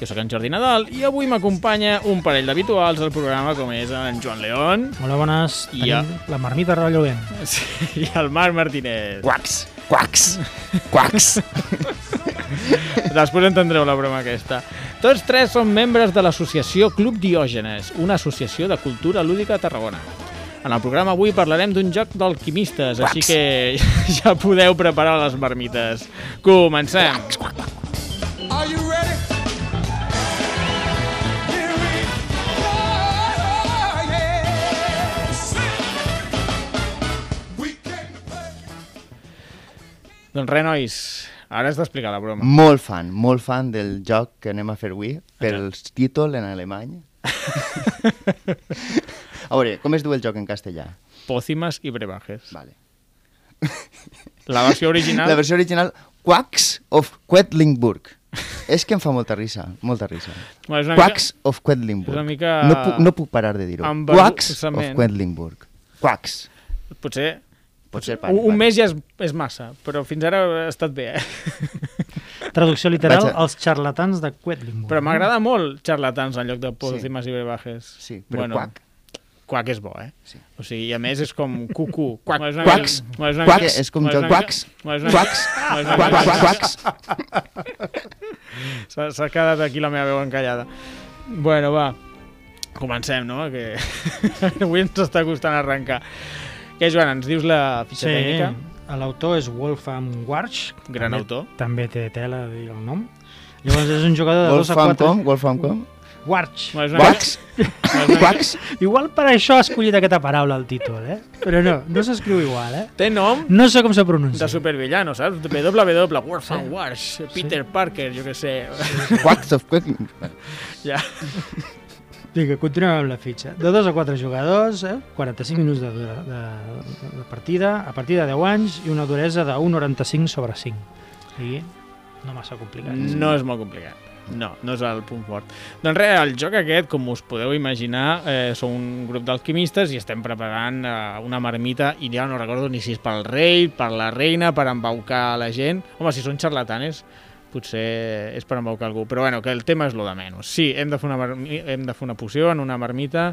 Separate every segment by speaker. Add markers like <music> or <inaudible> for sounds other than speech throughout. Speaker 1: Jo sóc en Jordi Nadal i avui m'acompanya un parell d'habituals al programa com és en Joan León <laughs>
Speaker 2: Hola, bones. Tenim
Speaker 1: Ja.
Speaker 2: la marmita relloguent.
Speaker 1: i el Marc Martínez.
Speaker 3: Quacs, quacs, quacs.
Speaker 1: Després entendreu la broma aquesta. Tots tres són membres de l'associació Club Diògenes, una associació de cultura lúdica a Tarragona. En el programa avui parlarem d'un joc d'alquimistes, així
Speaker 3: Quacs.
Speaker 1: que <laughs> ja podeu preparar les marmites. Comencem!
Speaker 4: Are you ready? Here we go. Yeah. Sing. We came to play.
Speaker 1: Doncs res, nois, ara has d'explicar la broma.
Speaker 3: Molt fan, molt fan del joc que anem a fer avui, pel títol en alemany. A veure, com es diu el joc en castellà?
Speaker 1: <laughs> Pòcimes i brebajes.
Speaker 3: Vale.
Speaker 1: La versió original...
Speaker 3: La versió original, Quacks of Quedlinburg. És que em fa molta risa, molta risa.
Speaker 1: Bueno, és una
Speaker 3: Quacks of Quedlinburg.
Speaker 1: és una mica-
Speaker 3: No, puc, no puc parar de dir-ho.
Speaker 1: Amb
Speaker 3: Quacks of
Speaker 1: vergossament.
Speaker 3: Quedlinburg. Quacks.
Speaker 1: Mica, potser
Speaker 3: Potser
Speaker 1: un, un mes ja és, és massa, però fins ara ha estat bé,
Speaker 3: <laughs>
Speaker 1: eh?
Speaker 2: <laughs> Traducció literal,
Speaker 3: Vaig a-
Speaker 2: els xarlatans de Quedlinburg.
Speaker 1: Però m'agrada molt xarlatans en lloc de pòcimes sí. i brebajes.
Speaker 3: Sí, però bueno. quac.
Speaker 1: Quac és bo, eh?
Speaker 3: Sí.
Speaker 1: O sigui, i a més és
Speaker 3: <laughs>
Speaker 1: com cucú. Quac. És una
Speaker 3: Quacs.
Speaker 1: mica- bueno, una
Speaker 3: Quacs.
Speaker 1: mica-
Speaker 3: És com
Speaker 1: bueno,
Speaker 3: John
Speaker 1: una mica-
Speaker 3: Quacs.
Speaker 1: bueno, és una mica-
Speaker 3: Quacs.
Speaker 1: bueno, és una
Speaker 3: Quac,
Speaker 1: mica-
Speaker 3: quac, quacs.
Speaker 1: S'ha s'ha quedat aquí la meva veu encallada. Bueno, va, comencem, no? Que <laughs> avui ens està costant arrencar. Què, Joan, ens dius la
Speaker 2: Sí,
Speaker 1: fitxa tècnica?
Speaker 2: l'autor és Wolfram Warch.
Speaker 1: Gran
Speaker 2: també,
Speaker 1: autor.
Speaker 2: També té tela, dir el nom. Llavors és un jugador de 2 a
Speaker 3: Wolfram
Speaker 2: 4...
Speaker 3: com? Wolfram com?
Speaker 2: Warch.
Speaker 1: Bueno, és una mica-
Speaker 3: Quacks. Quacks.
Speaker 2: Igual per això ha escollit aquesta paraula al títol, eh? Però no, no s'escriu igual, eh?
Speaker 1: Té nom
Speaker 2: No sé com se pronuncia.
Speaker 1: de supervillano, saps? WW, Warfare Wars, Peter Parker, jo que sé.
Speaker 3: Quacks of Quedlinburg.
Speaker 1: Ja.
Speaker 2: Vinga, continuem amb la fitxa. De 2 a 4 jugadors, eh? 45 minuts de, dura, de, de partida, a partir de 10 anys i una duresa de 1,95 sobre 5. O sigui, no massa complicat.
Speaker 1: No és molt complicat. No, no és el punt fort. Doncs res, el joc aquest, com us podeu imaginar, eh, som un grup d'alquimistes i estem preparant eh, una marmita i ja no recordo ni si és pel rei, per la reina, per embaucar la gent. Home, si són xarlatanes, potser és per embaucar algú. Però bueno, que el tema és lo de menys. Sí, hem de fer una, marmi... hem de fer una poció en una marmita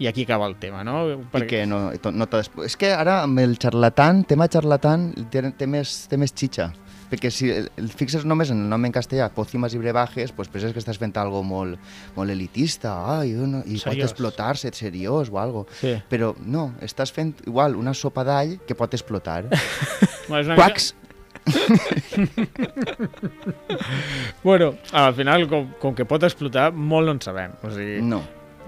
Speaker 1: i aquí acaba el tema, no?
Speaker 3: I que no, to- no t'ha despo- És que ara amb el xarlatan, tema xarlatan, té, té, més, té més xitxa. Perquè si el, el fixes només en el nom en castellà, pòcimes i brebajes, doncs penses que estàs fent algo molt, molt elitista, ai, no, i pot
Speaker 2: Seriós.
Speaker 3: explotar-se, seriós o algo.
Speaker 1: Sí.
Speaker 3: Però no, estàs fent igual una sopa d'all que pot explotar. <laughs>
Speaker 1: Bueno, és una mica-
Speaker 3: Quacs,
Speaker 1: Bueno, al final, com, com que pot explotar, molt no en sabem. O sigui,
Speaker 3: no.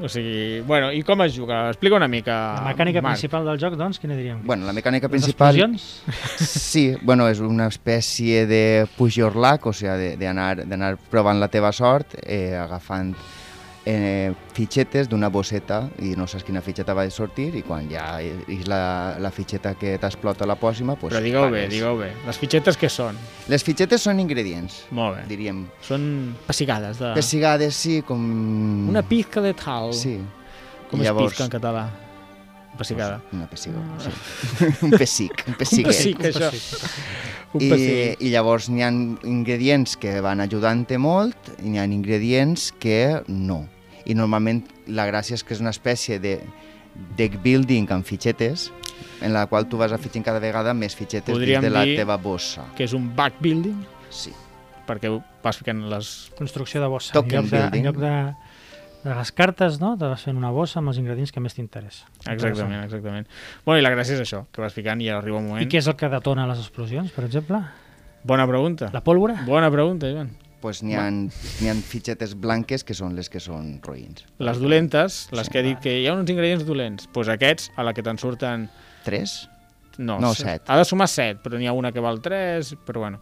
Speaker 1: O sigui, bueno, i com es juga? Explica una mica,
Speaker 2: La mecànica
Speaker 1: Marc.
Speaker 2: principal del joc, doncs, quina diríem?
Speaker 3: Bueno, la mecànica
Speaker 2: Les
Speaker 3: principal...
Speaker 2: explosions?
Speaker 3: <laughs> Sí, bueno, és una espècie de push your luck, o sigui, d'anar d'anar provant la teva sort, eh, agafant eh, fitxetes d'una bosseta i no saps quina fitxeta va sortir i quan ja és la, la fitxeta que t'explota la pòssima... Pues,
Speaker 1: Però digueu bé,
Speaker 3: pares.
Speaker 1: digueu bé. Les fitxetes què són?
Speaker 3: Les fitxetes són ingredients,
Speaker 1: Molt bé.
Speaker 3: diríem.
Speaker 1: Són pessigades de...
Speaker 3: Pessigades, sí,
Speaker 1: Ah.
Speaker 3: com...
Speaker 1: Mm. Una pizca de tal.
Speaker 3: Sí.
Speaker 1: Com
Speaker 3: I
Speaker 1: és pizca en català? Pessigada.
Speaker 3: Una pessiga, sí. <laughs> un pessic, un pessiguet.
Speaker 1: pessic, això. Un
Speaker 3: I,
Speaker 1: pessic.
Speaker 3: I llavors n'hi ha ingredients que van ajudant-te molt i n'hi ha ingredients que no. I normalment la gràcia és que és una espècie de deck building amb fitxetes en la qual tu vas afegint cada vegada més fitxetes
Speaker 1: Podríem
Speaker 3: dins de la
Speaker 1: dir-
Speaker 3: teva bossa.
Speaker 1: Que és un backbuilding,
Speaker 3: Sí.
Speaker 1: perquè vas ficant les...
Speaker 2: Construcció de bossa. en
Speaker 3: Token
Speaker 2: lloc de,
Speaker 3: building.
Speaker 2: en lloc de, de les cartes, no? Te vas fent una bossa amb els ingredients que més t'interessa.
Speaker 1: Exactament, exactament. Bueno, i la gràcia és això, que vas ficant i arriba un moment...
Speaker 2: I què és el que detona les explosions, per exemple?
Speaker 1: Bona pregunta.
Speaker 2: La pólvora?
Speaker 1: Bona pregunta, Joan.
Speaker 3: Pues n'hi ha, n'hi ha fitxetes blanques que són les que són roïns.
Speaker 1: Les dolentes, les
Speaker 3: Sí,
Speaker 1: que he dit que hi ha uns ingredients dolents, doncs aquests, a la que te'n surten
Speaker 3: Tres?
Speaker 1: No,
Speaker 3: No,
Speaker 1: se-
Speaker 3: set.
Speaker 1: Ha de sumar 7, però n'hi ha una que val 3, però bueno.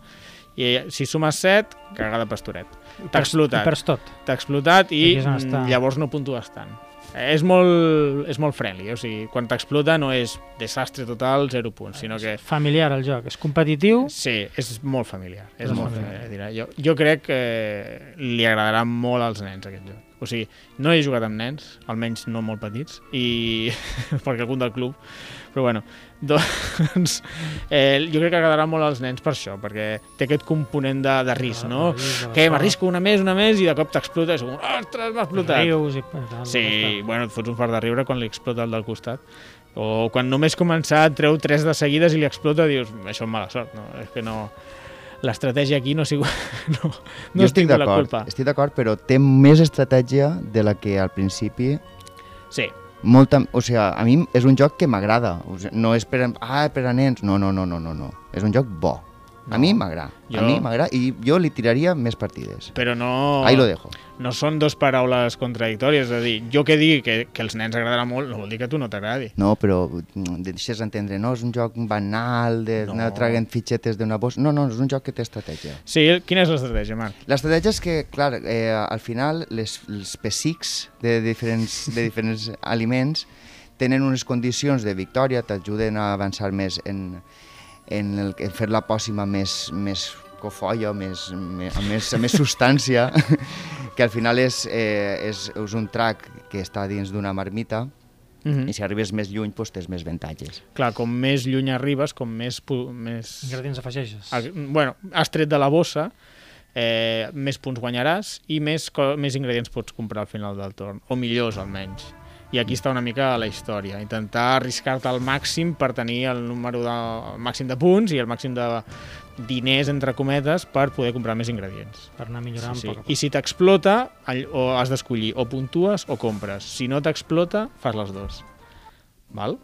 Speaker 1: i eh, si sumes 7, cagada pastoret. T'ha
Speaker 2: I
Speaker 1: explotat.
Speaker 2: perds tot.
Speaker 1: T'ha explotat i
Speaker 2: Aquí és on
Speaker 1: mm,
Speaker 2: està.
Speaker 1: llavors no puntues tant. Eh, És molt, és molt friendly, o sigui, quan t'explota no és desastre total, 0 punts, sinó que
Speaker 2: És familiar el joc, és competitiu.
Speaker 1: sí, és molt familiar. És
Speaker 2: És
Speaker 1: molt
Speaker 2: familiar.
Speaker 1: familiar. Dirà. Jo, jo crec que li agradarà molt als nens aquest joc. O sigui, no he jugat amb nens, almenys no molt petits, i <laughs> perquè algun del club, però bueno, <laughs> doncs eh, jo crec que agradarà molt als nens per això, perquè té aquest component de, Ah, de risc, no? Que m'arrisco una més, una més, i de cop t'explota i és com, ostres, m'ha explotat.
Speaker 2: Rius i... eh,
Speaker 1: Sí, bueno, et fots un fart de riure quan li explota el del costat. O quan només començar et treu tres de seguides i li explota, dius, això és mala sort, no? És que no... L'estratègia aquí no, sigo... <laughs> no, no
Speaker 3: jo
Speaker 1: estic
Speaker 3: estic
Speaker 1: la
Speaker 3: d'acord,
Speaker 1: culpa.
Speaker 3: estic d'acord, però té més estratègia de la que al principi
Speaker 1: Sí,
Speaker 3: molta, o sigui, a mi és un joc que m'agrada, o sigui, no és per, a- ah, per a nens, no, no, no, no, no, no. és un joc bo,
Speaker 1: No.
Speaker 3: a mi m'agrada,
Speaker 1: Jo-
Speaker 3: a mi m'agrada, i jo li tiraria més partides,
Speaker 1: però no...
Speaker 3: ahí lo dejo.
Speaker 1: No són dos paraules contradictòries, és a dir, jo que digui que, que els nens agradarà molt, no vol dir que a tu no t'agradi.
Speaker 3: No, però mm, deixes entendre, no, és un joc banal, de no.
Speaker 1: No.
Speaker 3: anar traguent fitxetes d'una bossa, no, no, és un joc que té estratègia.
Speaker 1: Sí, quina és l'estratègia, Marc?
Speaker 3: L'estratègia és que, clar, eh, al final les, els pessics de
Speaker 1: <laughs>
Speaker 3: diferents, de diferents aliments tenen unes condicions de victòria, t'ajuden a avançar més en, en, el, en fer la pòssima més, més cofolla, més, més, amb, més, amb més substància,
Speaker 1: <laughs>
Speaker 3: que al final és, eh, és, és un trac que està dins d'una marmita
Speaker 1: Mm
Speaker 3: i si arribes més lluny doncs, tens més avantatges.
Speaker 1: Clar, com més lluny arribes, com més... pu- més...
Speaker 2: Ingredients afegeixes.
Speaker 1: Ah, bueno, has tret de la bossa, eh, més punts guanyaràs i més, co- més ingredients pots comprar al final del torn, o millors almenys. I aquí està una mica la història, intentar arriscar-te al màxim per tenir el número de, el màxim de punts i el màxim de diners, entre cometes, per poder comprar més ingredients.
Speaker 2: Per anar millorant
Speaker 1: Sí,
Speaker 2: sí,
Speaker 1: sí.
Speaker 2: poc a poc.
Speaker 1: I si t'explota, all- o has d'escollir o puntues o compres. Si no t'explota, fas les dues. Val?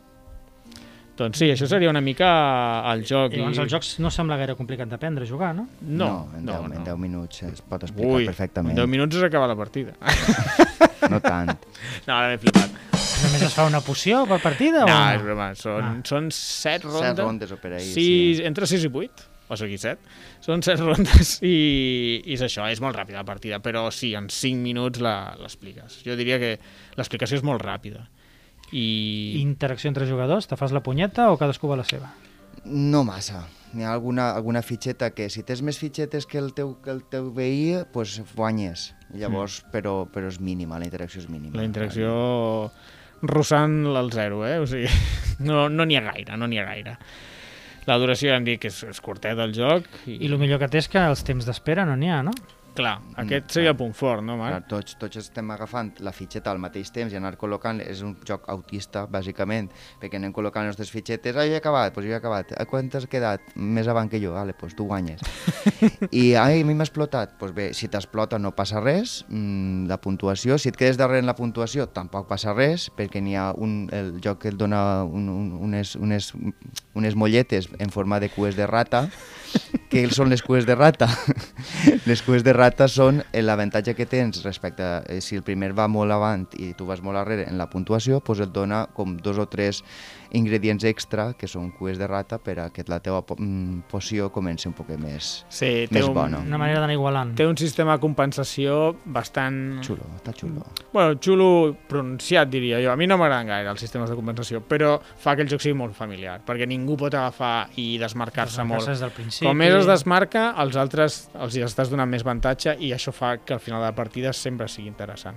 Speaker 1: Doncs sí, això seria una mica el joc.
Speaker 2: I llavors el joc no sembla gaire complicat d'aprendre a jugar, no?
Speaker 1: No,
Speaker 3: en, 10, en 10 minuts es pot explicar
Speaker 1: Ui, en
Speaker 3: perfectament.
Speaker 1: 10 minuts és acabar la partida. <laughs>
Speaker 3: No tant.
Speaker 1: No, ara m'he flipat.
Speaker 2: Només es fa una poció per partida?
Speaker 1: No,
Speaker 2: o
Speaker 1: és
Speaker 2: no?
Speaker 1: broma. Són,
Speaker 2: Ah.
Speaker 1: són 7 rondes.
Speaker 3: Set rondes o per ahir,
Speaker 1: sis, Entre 6 i 8. O sigui, 7. Són 7 <laughs> rondes i, i és això, és molt ràpida la partida, però sí, en 5 minuts la- l'expliques. Jo diria que l'explicació és molt ràpida. I...
Speaker 2: Interacció entre jugadors? Te fas la punyeta o cadascú va la seva?
Speaker 3: No massa. Hi ha alguna, alguna fitxeta que si tens més fitxetes que el teu, que el teu veí, pues guanyes. Llavors, mm. però, però és mínima, la interacció és mínima.
Speaker 1: La interacció rossant el zero, eh? O sigui, <laughs> no no n'hi ha gaire, no n'hi ha gaire. La duració ja hem dit que és, és curtet el joc. I,
Speaker 2: I el millor que té és que els temps d'espera no n'hi ha, no?
Speaker 1: Mm, Clar, aquest seria el punt fort, no,
Speaker 3: Clar,
Speaker 1: Marc?
Speaker 3: tots, tots estem agafant la fitxeta al mateix temps i anar col·locant, és un joc autista, bàsicament, perquè anem col·locant les nostres fitxetes, ah, ja he acabat, doncs ja he acabat, ah, quan t'has quedat? Més avant que jo, vale, doncs tu guanyes. I, ai, a mi m'ha explotat, doncs bé, si t'explota no passa res, mm, la puntuació, si et quedes darrere en la puntuació tampoc passa res, perquè n'hi ha un, el joc que et dona un, un, unes, unes, unes molletes en forma de cues de rata, que són les cues de rata. <laughs> les cues de rata són eh, l'avantatge que tens respecte a eh, si el primer va molt avant i tu vas molt darrere en la puntuació, doncs et dona com dos o tres ingredients extra que són cues de rata per a que la teva po- mm, poció comenci un poc més
Speaker 1: Sí, té
Speaker 3: Més
Speaker 1: un,
Speaker 3: bona.
Speaker 2: Una manera d'anar igualant.
Speaker 1: Mm. té un sistema de compensació bastant...
Speaker 3: xulo, està xulo.
Speaker 1: Bueno, xulo pronunciat, diria jo. A mi no m'agraden gaire els sistemes de compensació, però fa que el joc sigui molt familiar, perquè ningú pot agafar i desmarcar-se molt.
Speaker 2: Des del principi.
Speaker 1: Com més es desmarca, els altres els hi estàs donant més avantatge i això fa que al final de la partida sempre sigui interessant.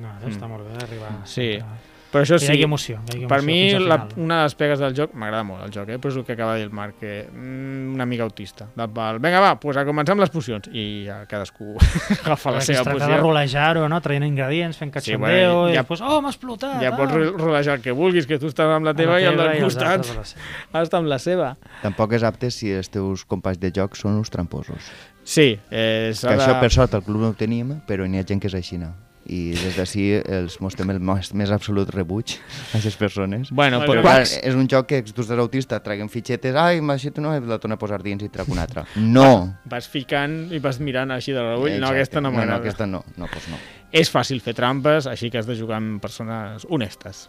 Speaker 2: No, està molt bé d'arribar.
Speaker 1: Mm. Sí.
Speaker 2: a-
Speaker 1: Però això
Speaker 2: Que hi
Speaker 1: sí,
Speaker 2: hagi emoció. Que hi hagi
Speaker 1: per
Speaker 2: emoció
Speaker 1: mi
Speaker 2: fins al
Speaker 1: la,
Speaker 2: final.
Speaker 1: una de les pegues del joc, m'agrada molt el joc, eh? però és el que acaba de dir el Marc, que mm, una mica autista. De pal, Vinga, va, pues a començar amb les pocions. I ja cadascú <laughs> agafa la
Speaker 2: Perquè es
Speaker 1: seva
Speaker 2: tracta de
Speaker 1: poció.
Speaker 2: rolejar-ho, no? traient ingredients, fent cachondeo,
Speaker 1: bueno,
Speaker 2: i
Speaker 1: ja-
Speaker 2: després, oh, m'ha explotat!
Speaker 1: Ja
Speaker 2: ah!
Speaker 1: pots ro- rolejar el que vulguis, que tu estàs amb la teva i el
Speaker 2: teva
Speaker 1: del
Speaker 2: els
Speaker 1: costat
Speaker 2: altres a la seva.
Speaker 1: està amb la seva.
Speaker 3: Tampoc és apte si els teus companys de joc són uns tramposos.
Speaker 1: Sí, eh, s'ha de...
Speaker 3: Que això, per sort, al club no ho tenim, però n'hi ha gent que és així. no? I des d'ací els mostrem el més, més absolut rebuig a aquestes persones.
Speaker 1: Bueno,
Speaker 3: Però
Speaker 1: però... eh,
Speaker 3: clar, és un joc que tu seràs autista, traguen fitxetes, ai, m'així tu no, la torna a posar dins i trec una altra. No!
Speaker 1: Vas ficant i vas mirant així de l'ull. No, aquesta no
Speaker 3: no, no,
Speaker 1: m'agrada.
Speaker 3: aquesta no, no, doncs no.
Speaker 1: És fàcil fer trampes, així que has de jugar amb persones honestes,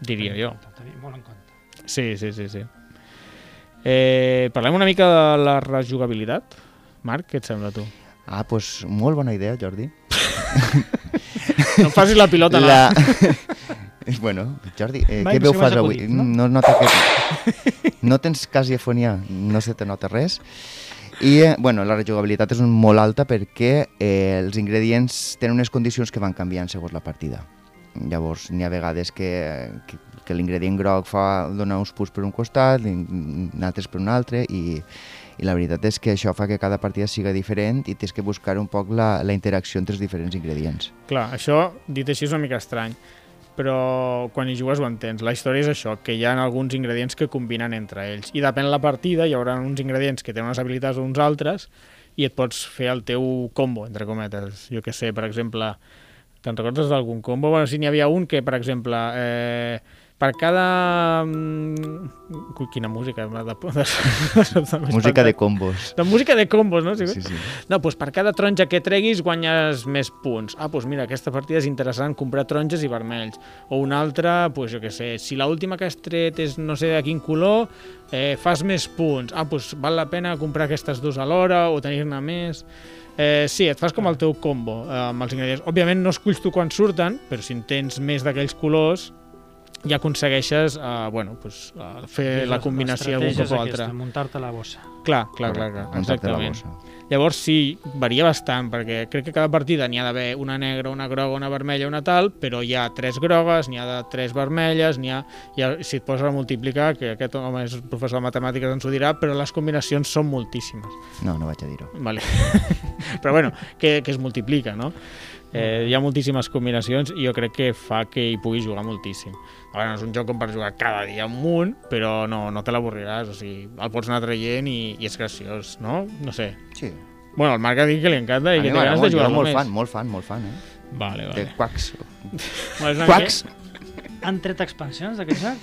Speaker 1: diria jo.
Speaker 2: Tenir molt en compte.
Speaker 1: Sí, sí, sí. sí. Eh, parlem una mica de la rejugabilitat, Marc, què et sembla a tu?
Speaker 3: Ah, doncs pues, molt bona idea, Jordi.
Speaker 1: No em facis la pilota, Tota la... <laughs>
Speaker 3: La... <laughs> bueno, Jordi, eh,
Speaker 2: Mai
Speaker 3: què
Speaker 2: no
Speaker 3: veu
Speaker 2: sé
Speaker 3: fas
Speaker 2: com has
Speaker 3: avui?
Speaker 2: acudit, no?
Speaker 3: No, no nota que...
Speaker 2: <laughs>
Speaker 3: No tens quasi afonia, no se te nota res. I, eh, bueno, la rejugabilitat és un- molt alta perquè eh, els ingredients tenen unes condicions que van canviant segons la partida. Llavors, n'hi ha vegades que, que, que l'ingredient groc fa donar uns punts per un costat, l'in- altres per un altre, i, i la veritat és que això fa que cada partida siga diferent i tens que buscar un poc la, la interacció entre els diferents ingredients.
Speaker 1: Clar, això, dit així, és una mica estrany, però quan hi jugues ho entens. La història és això, que hi ha alguns ingredients que combinen entre ells. I depèn la partida, hi haurà uns ingredients que tenen unes habilitats o uns altres i et pots fer el teu combo, entre cometes. Jo que sé, per exemple, te'n recordes d'algun combo? Bueno, sí, n'hi havia un que, per exemple, eh, per cada... mm, Ui, quina música. De, <laughs> de, de,
Speaker 3: Música de combos.
Speaker 1: de música de combos, no?
Speaker 3: Sí, sí.
Speaker 1: No, doncs per cada taronja que treguis guanyes més punts. Ah, doncs mira, aquesta partida és interessant comprar taronges i vermells. O una altra, doncs jo què sé, si la última que has tret és no sé de quin color, eh, fas més punts. Ah, doncs val la pena comprar aquestes dues alhora o tenir-ne més. Eh, sí, et fas com el teu combo eh, amb els ingredients. Òbviament no esculls tu quan surten, però si en tens més d'aquells colors ja aconsegueixes eh, bueno, doncs, eh, fer la combinació d'un cop o altre.
Speaker 2: Muntar-te la bossa.
Speaker 1: Clar, clar, clar, clar,
Speaker 3: Contacte a la
Speaker 1: exactament.
Speaker 3: bossa.
Speaker 1: Llavors sí, varia bastant, perquè crec que cada partida n'hi ha d'haver una negra, una groga, una vermella, una tal, però hi ha tres grogues, n'hi ha de tres vermelles, n'hi ha, hi ha... Si et poses a multiplicar, que aquest home és professor de matemàtiques, ens ho dirà, però les combinacions són moltíssimes.
Speaker 3: No, no vaig a dir-ho.
Speaker 1: Vale. <laughs> Però bueno, que, que es multiplica, no? Eh, hi ha moltíssimes combinacions i jo crec que fa que hi puguis jugar moltíssim. A veure, no és un joc com per jugar cada dia un munt, però no, no te l'avorriràs, o sigui, el pots anar traient i, i és graciós, no? No sé.
Speaker 3: Sí.
Speaker 1: Bueno, el Marc ha dit que li encanta i
Speaker 3: A
Speaker 1: que
Speaker 3: mi
Speaker 1: té
Speaker 3: m'agrada
Speaker 1: ganes de
Speaker 3: molt,
Speaker 1: jugar
Speaker 3: jo
Speaker 1: molt
Speaker 3: molt
Speaker 1: més.
Speaker 3: fan, molt fan, molt fan, eh?
Speaker 1: Vale,
Speaker 3: De
Speaker 1: vale.
Speaker 3: quacs.
Speaker 1: Bueno, és una
Speaker 3: Quacs!
Speaker 2: Han tret expansions d'aquest <laughs> joc?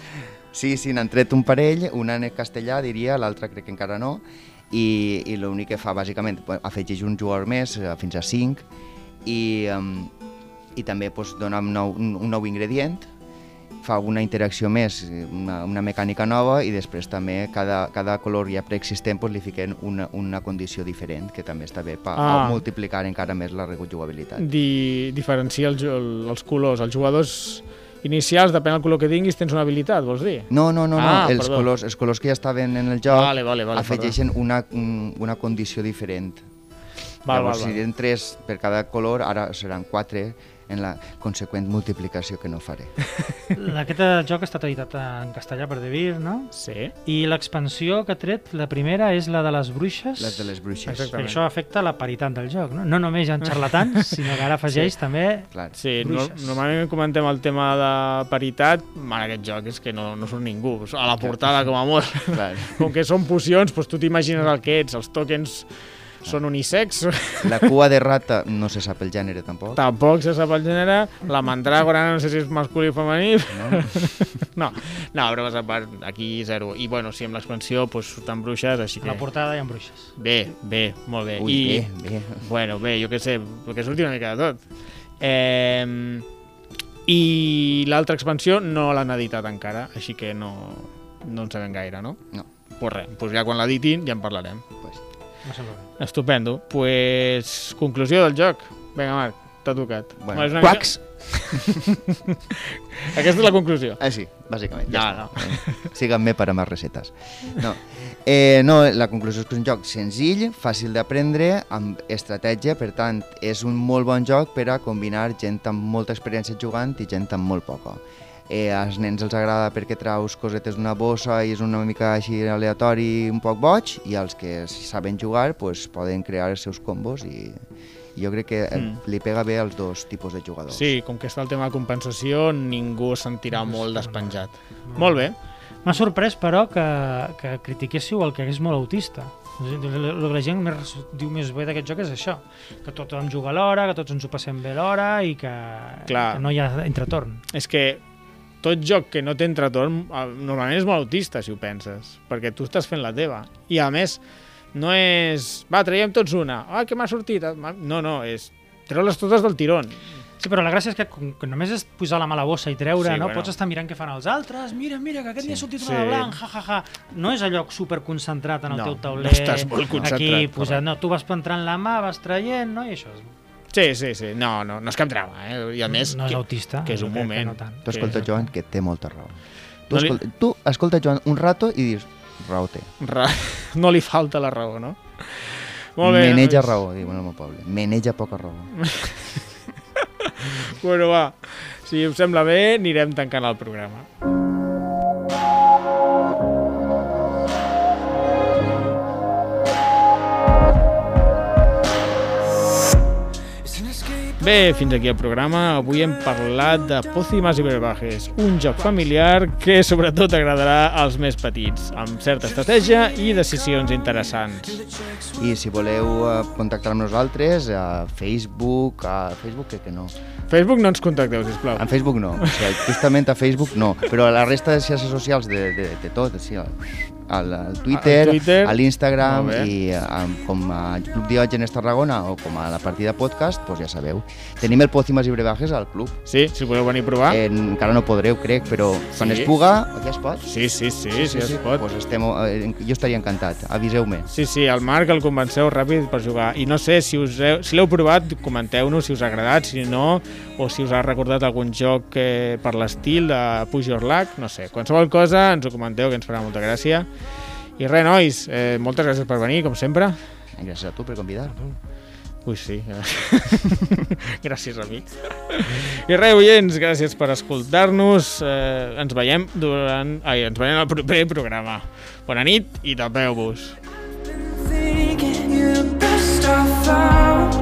Speaker 3: Sí, sí, n'han tret un parell, una en castellà, diria, l'altra crec que encara no, i, i l'únic que fa, bàsicament, pues, afegeix un jugador més, eh, fins a 5, i, um, i també pues, dona un nou, un, un nou ingredient, fa una interacció més, eh, una, una mecànica nova i després també cada, cada color ja preexistent pues, li fiquen una, una condició diferent que també està bé per
Speaker 1: Ah.
Speaker 3: ah. multiplicar encara més la rejugabilitat.
Speaker 1: Di diferencia el, jo- el, els colors. Els jugadors inicials, depèn del color que tinguis, tens una habilitat, vols dir?
Speaker 3: No, no, no,
Speaker 1: Ah,
Speaker 3: no. Els,
Speaker 1: perdó.
Speaker 3: colors, els colors que ja estaven en el joc
Speaker 1: Vale, vale, vale,
Speaker 3: afegeixen una, un- una condició diferent.
Speaker 1: Val, val,
Speaker 3: Llavors, si
Speaker 1: val.
Speaker 3: eren tres per cada color, ara seran quatre en la conseqüent multiplicació que no
Speaker 1: <laughs>
Speaker 3: faré.
Speaker 2: Aquest joc està editat en castellà per Devir, no?
Speaker 1: Sí.
Speaker 2: I l'expansió que ha tret, la primera, és la de les bruixes.
Speaker 3: Les de les bruixes.
Speaker 1: Exacte.
Speaker 2: Exactament. Això afecta la paritat del joc, no? No només hi ha xarlatans, <laughs> sinó que ara afegeix sí. també...
Speaker 3: Clar.
Speaker 1: Sí, no,
Speaker 2: Bruixes.
Speaker 1: normalment comentem el tema de paritat, en aquest joc és que no, no són ningú, a la portada com a molt.
Speaker 3: Clar.
Speaker 1: Com que són pocions, doncs tu t'imagines el que ets, els tokens són unisex,
Speaker 3: La cua de rata no se sap el gènere tampoc.
Speaker 1: tampoc se sap el gènere, la mandràgora no sé si és masculí o femení, <laughs> no, no, però vas a part, aquí zero. I bueno, sí, amb l'expansió doncs, surten bruixes, així
Speaker 2: A la
Speaker 1: que...
Speaker 2: portada hi ha bruixes.
Speaker 1: Bé, bé, molt bé.
Speaker 3: Ui,
Speaker 1: I,
Speaker 3: bé, bé.
Speaker 1: Bueno, bé, jo què sé, perquè surti una mica de tot. Eh, I l'altra expansió no l'han editat encara, així que no, no en sabem gaire, no?
Speaker 3: No.
Speaker 1: Pues res, pues ja quan l'editin ja en parlarem.
Speaker 3: Pues,
Speaker 2: No sembla bé.
Speaker 1: Estupendo. Pues conclusió del joc. Vinga, Marc, t'ha tocat.
Speaker 3: bueno.
Speaker 1: Bueno, és una mica-
Speaker 3: Quacs!
Speaker 1: <laughs> Aquesta és la conclusió.
Speaker 3: Ah, sí, bàsicament. Ja
Speaker 1: No,
Speaker 3: està. <laughs> Síganme per a més recetes. No. Eh, no, la conclusió és que és un joc senzill, fàcil d'aprendre, amb estratègia, per tant, és un molt bon joc per a combinar gent amb molta experiència jugant i gent amb molt poca. Eh, als nens els agrada perquè traus cosetes d'una bossa i és una mica així aleatori, un poc boig, i els que saben jugar pues, poden crear els seus combos i jo crec que eh,
Speaker 1: Mm.
Speaker 3: li pega bé als dos tipus de jugadors.
Speaker 1: Sí, com que està el tema de compensació, ningú es sentirà molt despenjat. Molt bé.
Speaker 2: M'ha sorprès, però, que, que critiquéssiu el que és molt autista. El que la gent més, diu més bé d'aquest joc és això, que tothom juga a l'hora, que tots ens ho passem bé a l'hora i que,
Speaker 1: Clar.
Speaker 2: que no hi ha entretorn.
Speaker 1: És que tot joc que no té entretorn eh, normalment és molt autista, si ho penses, perquè tu estàs fent la teva. I a més, no és... Va, traiem tots una. Ah, que m'ha sortit. Ah, m'ha-". No, no, és... Treu-les totes del tirón.
Speaker 2: Sí, però la gràcia és que, com que només és posar la mà a la bossa i treure,
Speaker 1: Sí,
Speaker 2: sí, no?
Speaker 1: bueno.
Speaker 2: Bueno. Pots estar mirant què fan els altres, mira, mira, que aquest sí. dia ha sortit
Speaker 1: Sí.
Speaker 2: una de blanc, ja, ja, ja. No és allò superconcentrat en el
Speaker 3: No,
Speaker 2: teu
Speaker 3: no
Speaker 2: tauler.
Speaker 1: estàs molt concentrat,
Speaker 2: Aquí, posat, no, tu vas entrant la mà, vas traient, no? I això és,
Speaker 1: Sí, sí, sí. No, no, no és cap drama, eh? I a més...
Speaker 2: no és
Speaker 1: que-
Speaker 2: autista.
Speaker 1: que és un
Speaker 2: jo crec
Speaker 1: moment.
Speaker 2: no tant.
Speaker 3: Tu
Speaker 1: Sí,
Speaker 3: escolta,
Speaker 1: exacte.
Speaker 3: Joan, que té molta raó. Tu,
Speaker 1: No li-
Speaker 3: escolta, tu escolta Joan un rato i dius, raó té.
Speaker 1: Ra... <laughs> No li falta la raó, no? Molt bé.
Speaker 3: Meneja
Speaker 1: doncs.
Speaker 3: raó, diuen al meu poble. Meneja poca raó.
Speaker 1: Bueno, va. Si us sembla bé, anirem tancant el programa. Bé, fins aquí el programa. Avui hem parlat de Pócimas i Brebajes, un joc familiar que sobretot agradarà als més petits, amb certa estratègia i decisions interessants.
Speaker 3: I si voleu eh, contactar amb nosaltres, a Facebook, a Facebook crec que no.
Speaker 1: Facebook no ens contacteu, sisplau.
Speaker 3: En Facebook no, o sigui, justament a Facebook no, però a la resta de xarxes socials de, de, de tot, sí, al, al, al Twitter,
Speaker 1: Al Twitter.
Speaker 3: a l'Instagram
Speaker 1: Molt bé.
Speaker 3: i eh, amb, com a Club Diògenes Tarragona o com a la partida podcast, doncs ja sabeu. Tenim el Pòcimes i Brebajes al club.
Speaker 1: Sí, si voleu venir a provar.
Speaker 3: Eh, encara no podreu, crec, però quan
Speaker 1: Sí.
Speaker 3: es puga, ja es pot.
Speaker 1: Sí, sí, sí, sí, sí, es pot.
Speaker 3: Pues estem, eh, jo estaria encantat, aviseu-me.
Speaker 1: Sí, sí, el Marc el convenceu ràpid per jugar. I no sé, si us heu, si l'heu provat, comenteu-nos si us ha agradat, si no, o si us ha recordat algun joc que, per l'estil de Push Your Luck, no sé. Qualsevol cosa ens ho comenteu, que ens farà molta gràcia. I res, nois, eh, moltes gràcies per venir, com sempre.
Speaker 3: Gràcies a tu per convidar.
Speaker 1: Ui, sí. eh. <laughs> gràcies a mi. I res, oients, gràcies per escoltar-nos. Eh, ens veiem durant... Ai, ens veiem al proper programa. Bona nit i tapeu-vos.
Speaker 5: Thinking you're the best I found.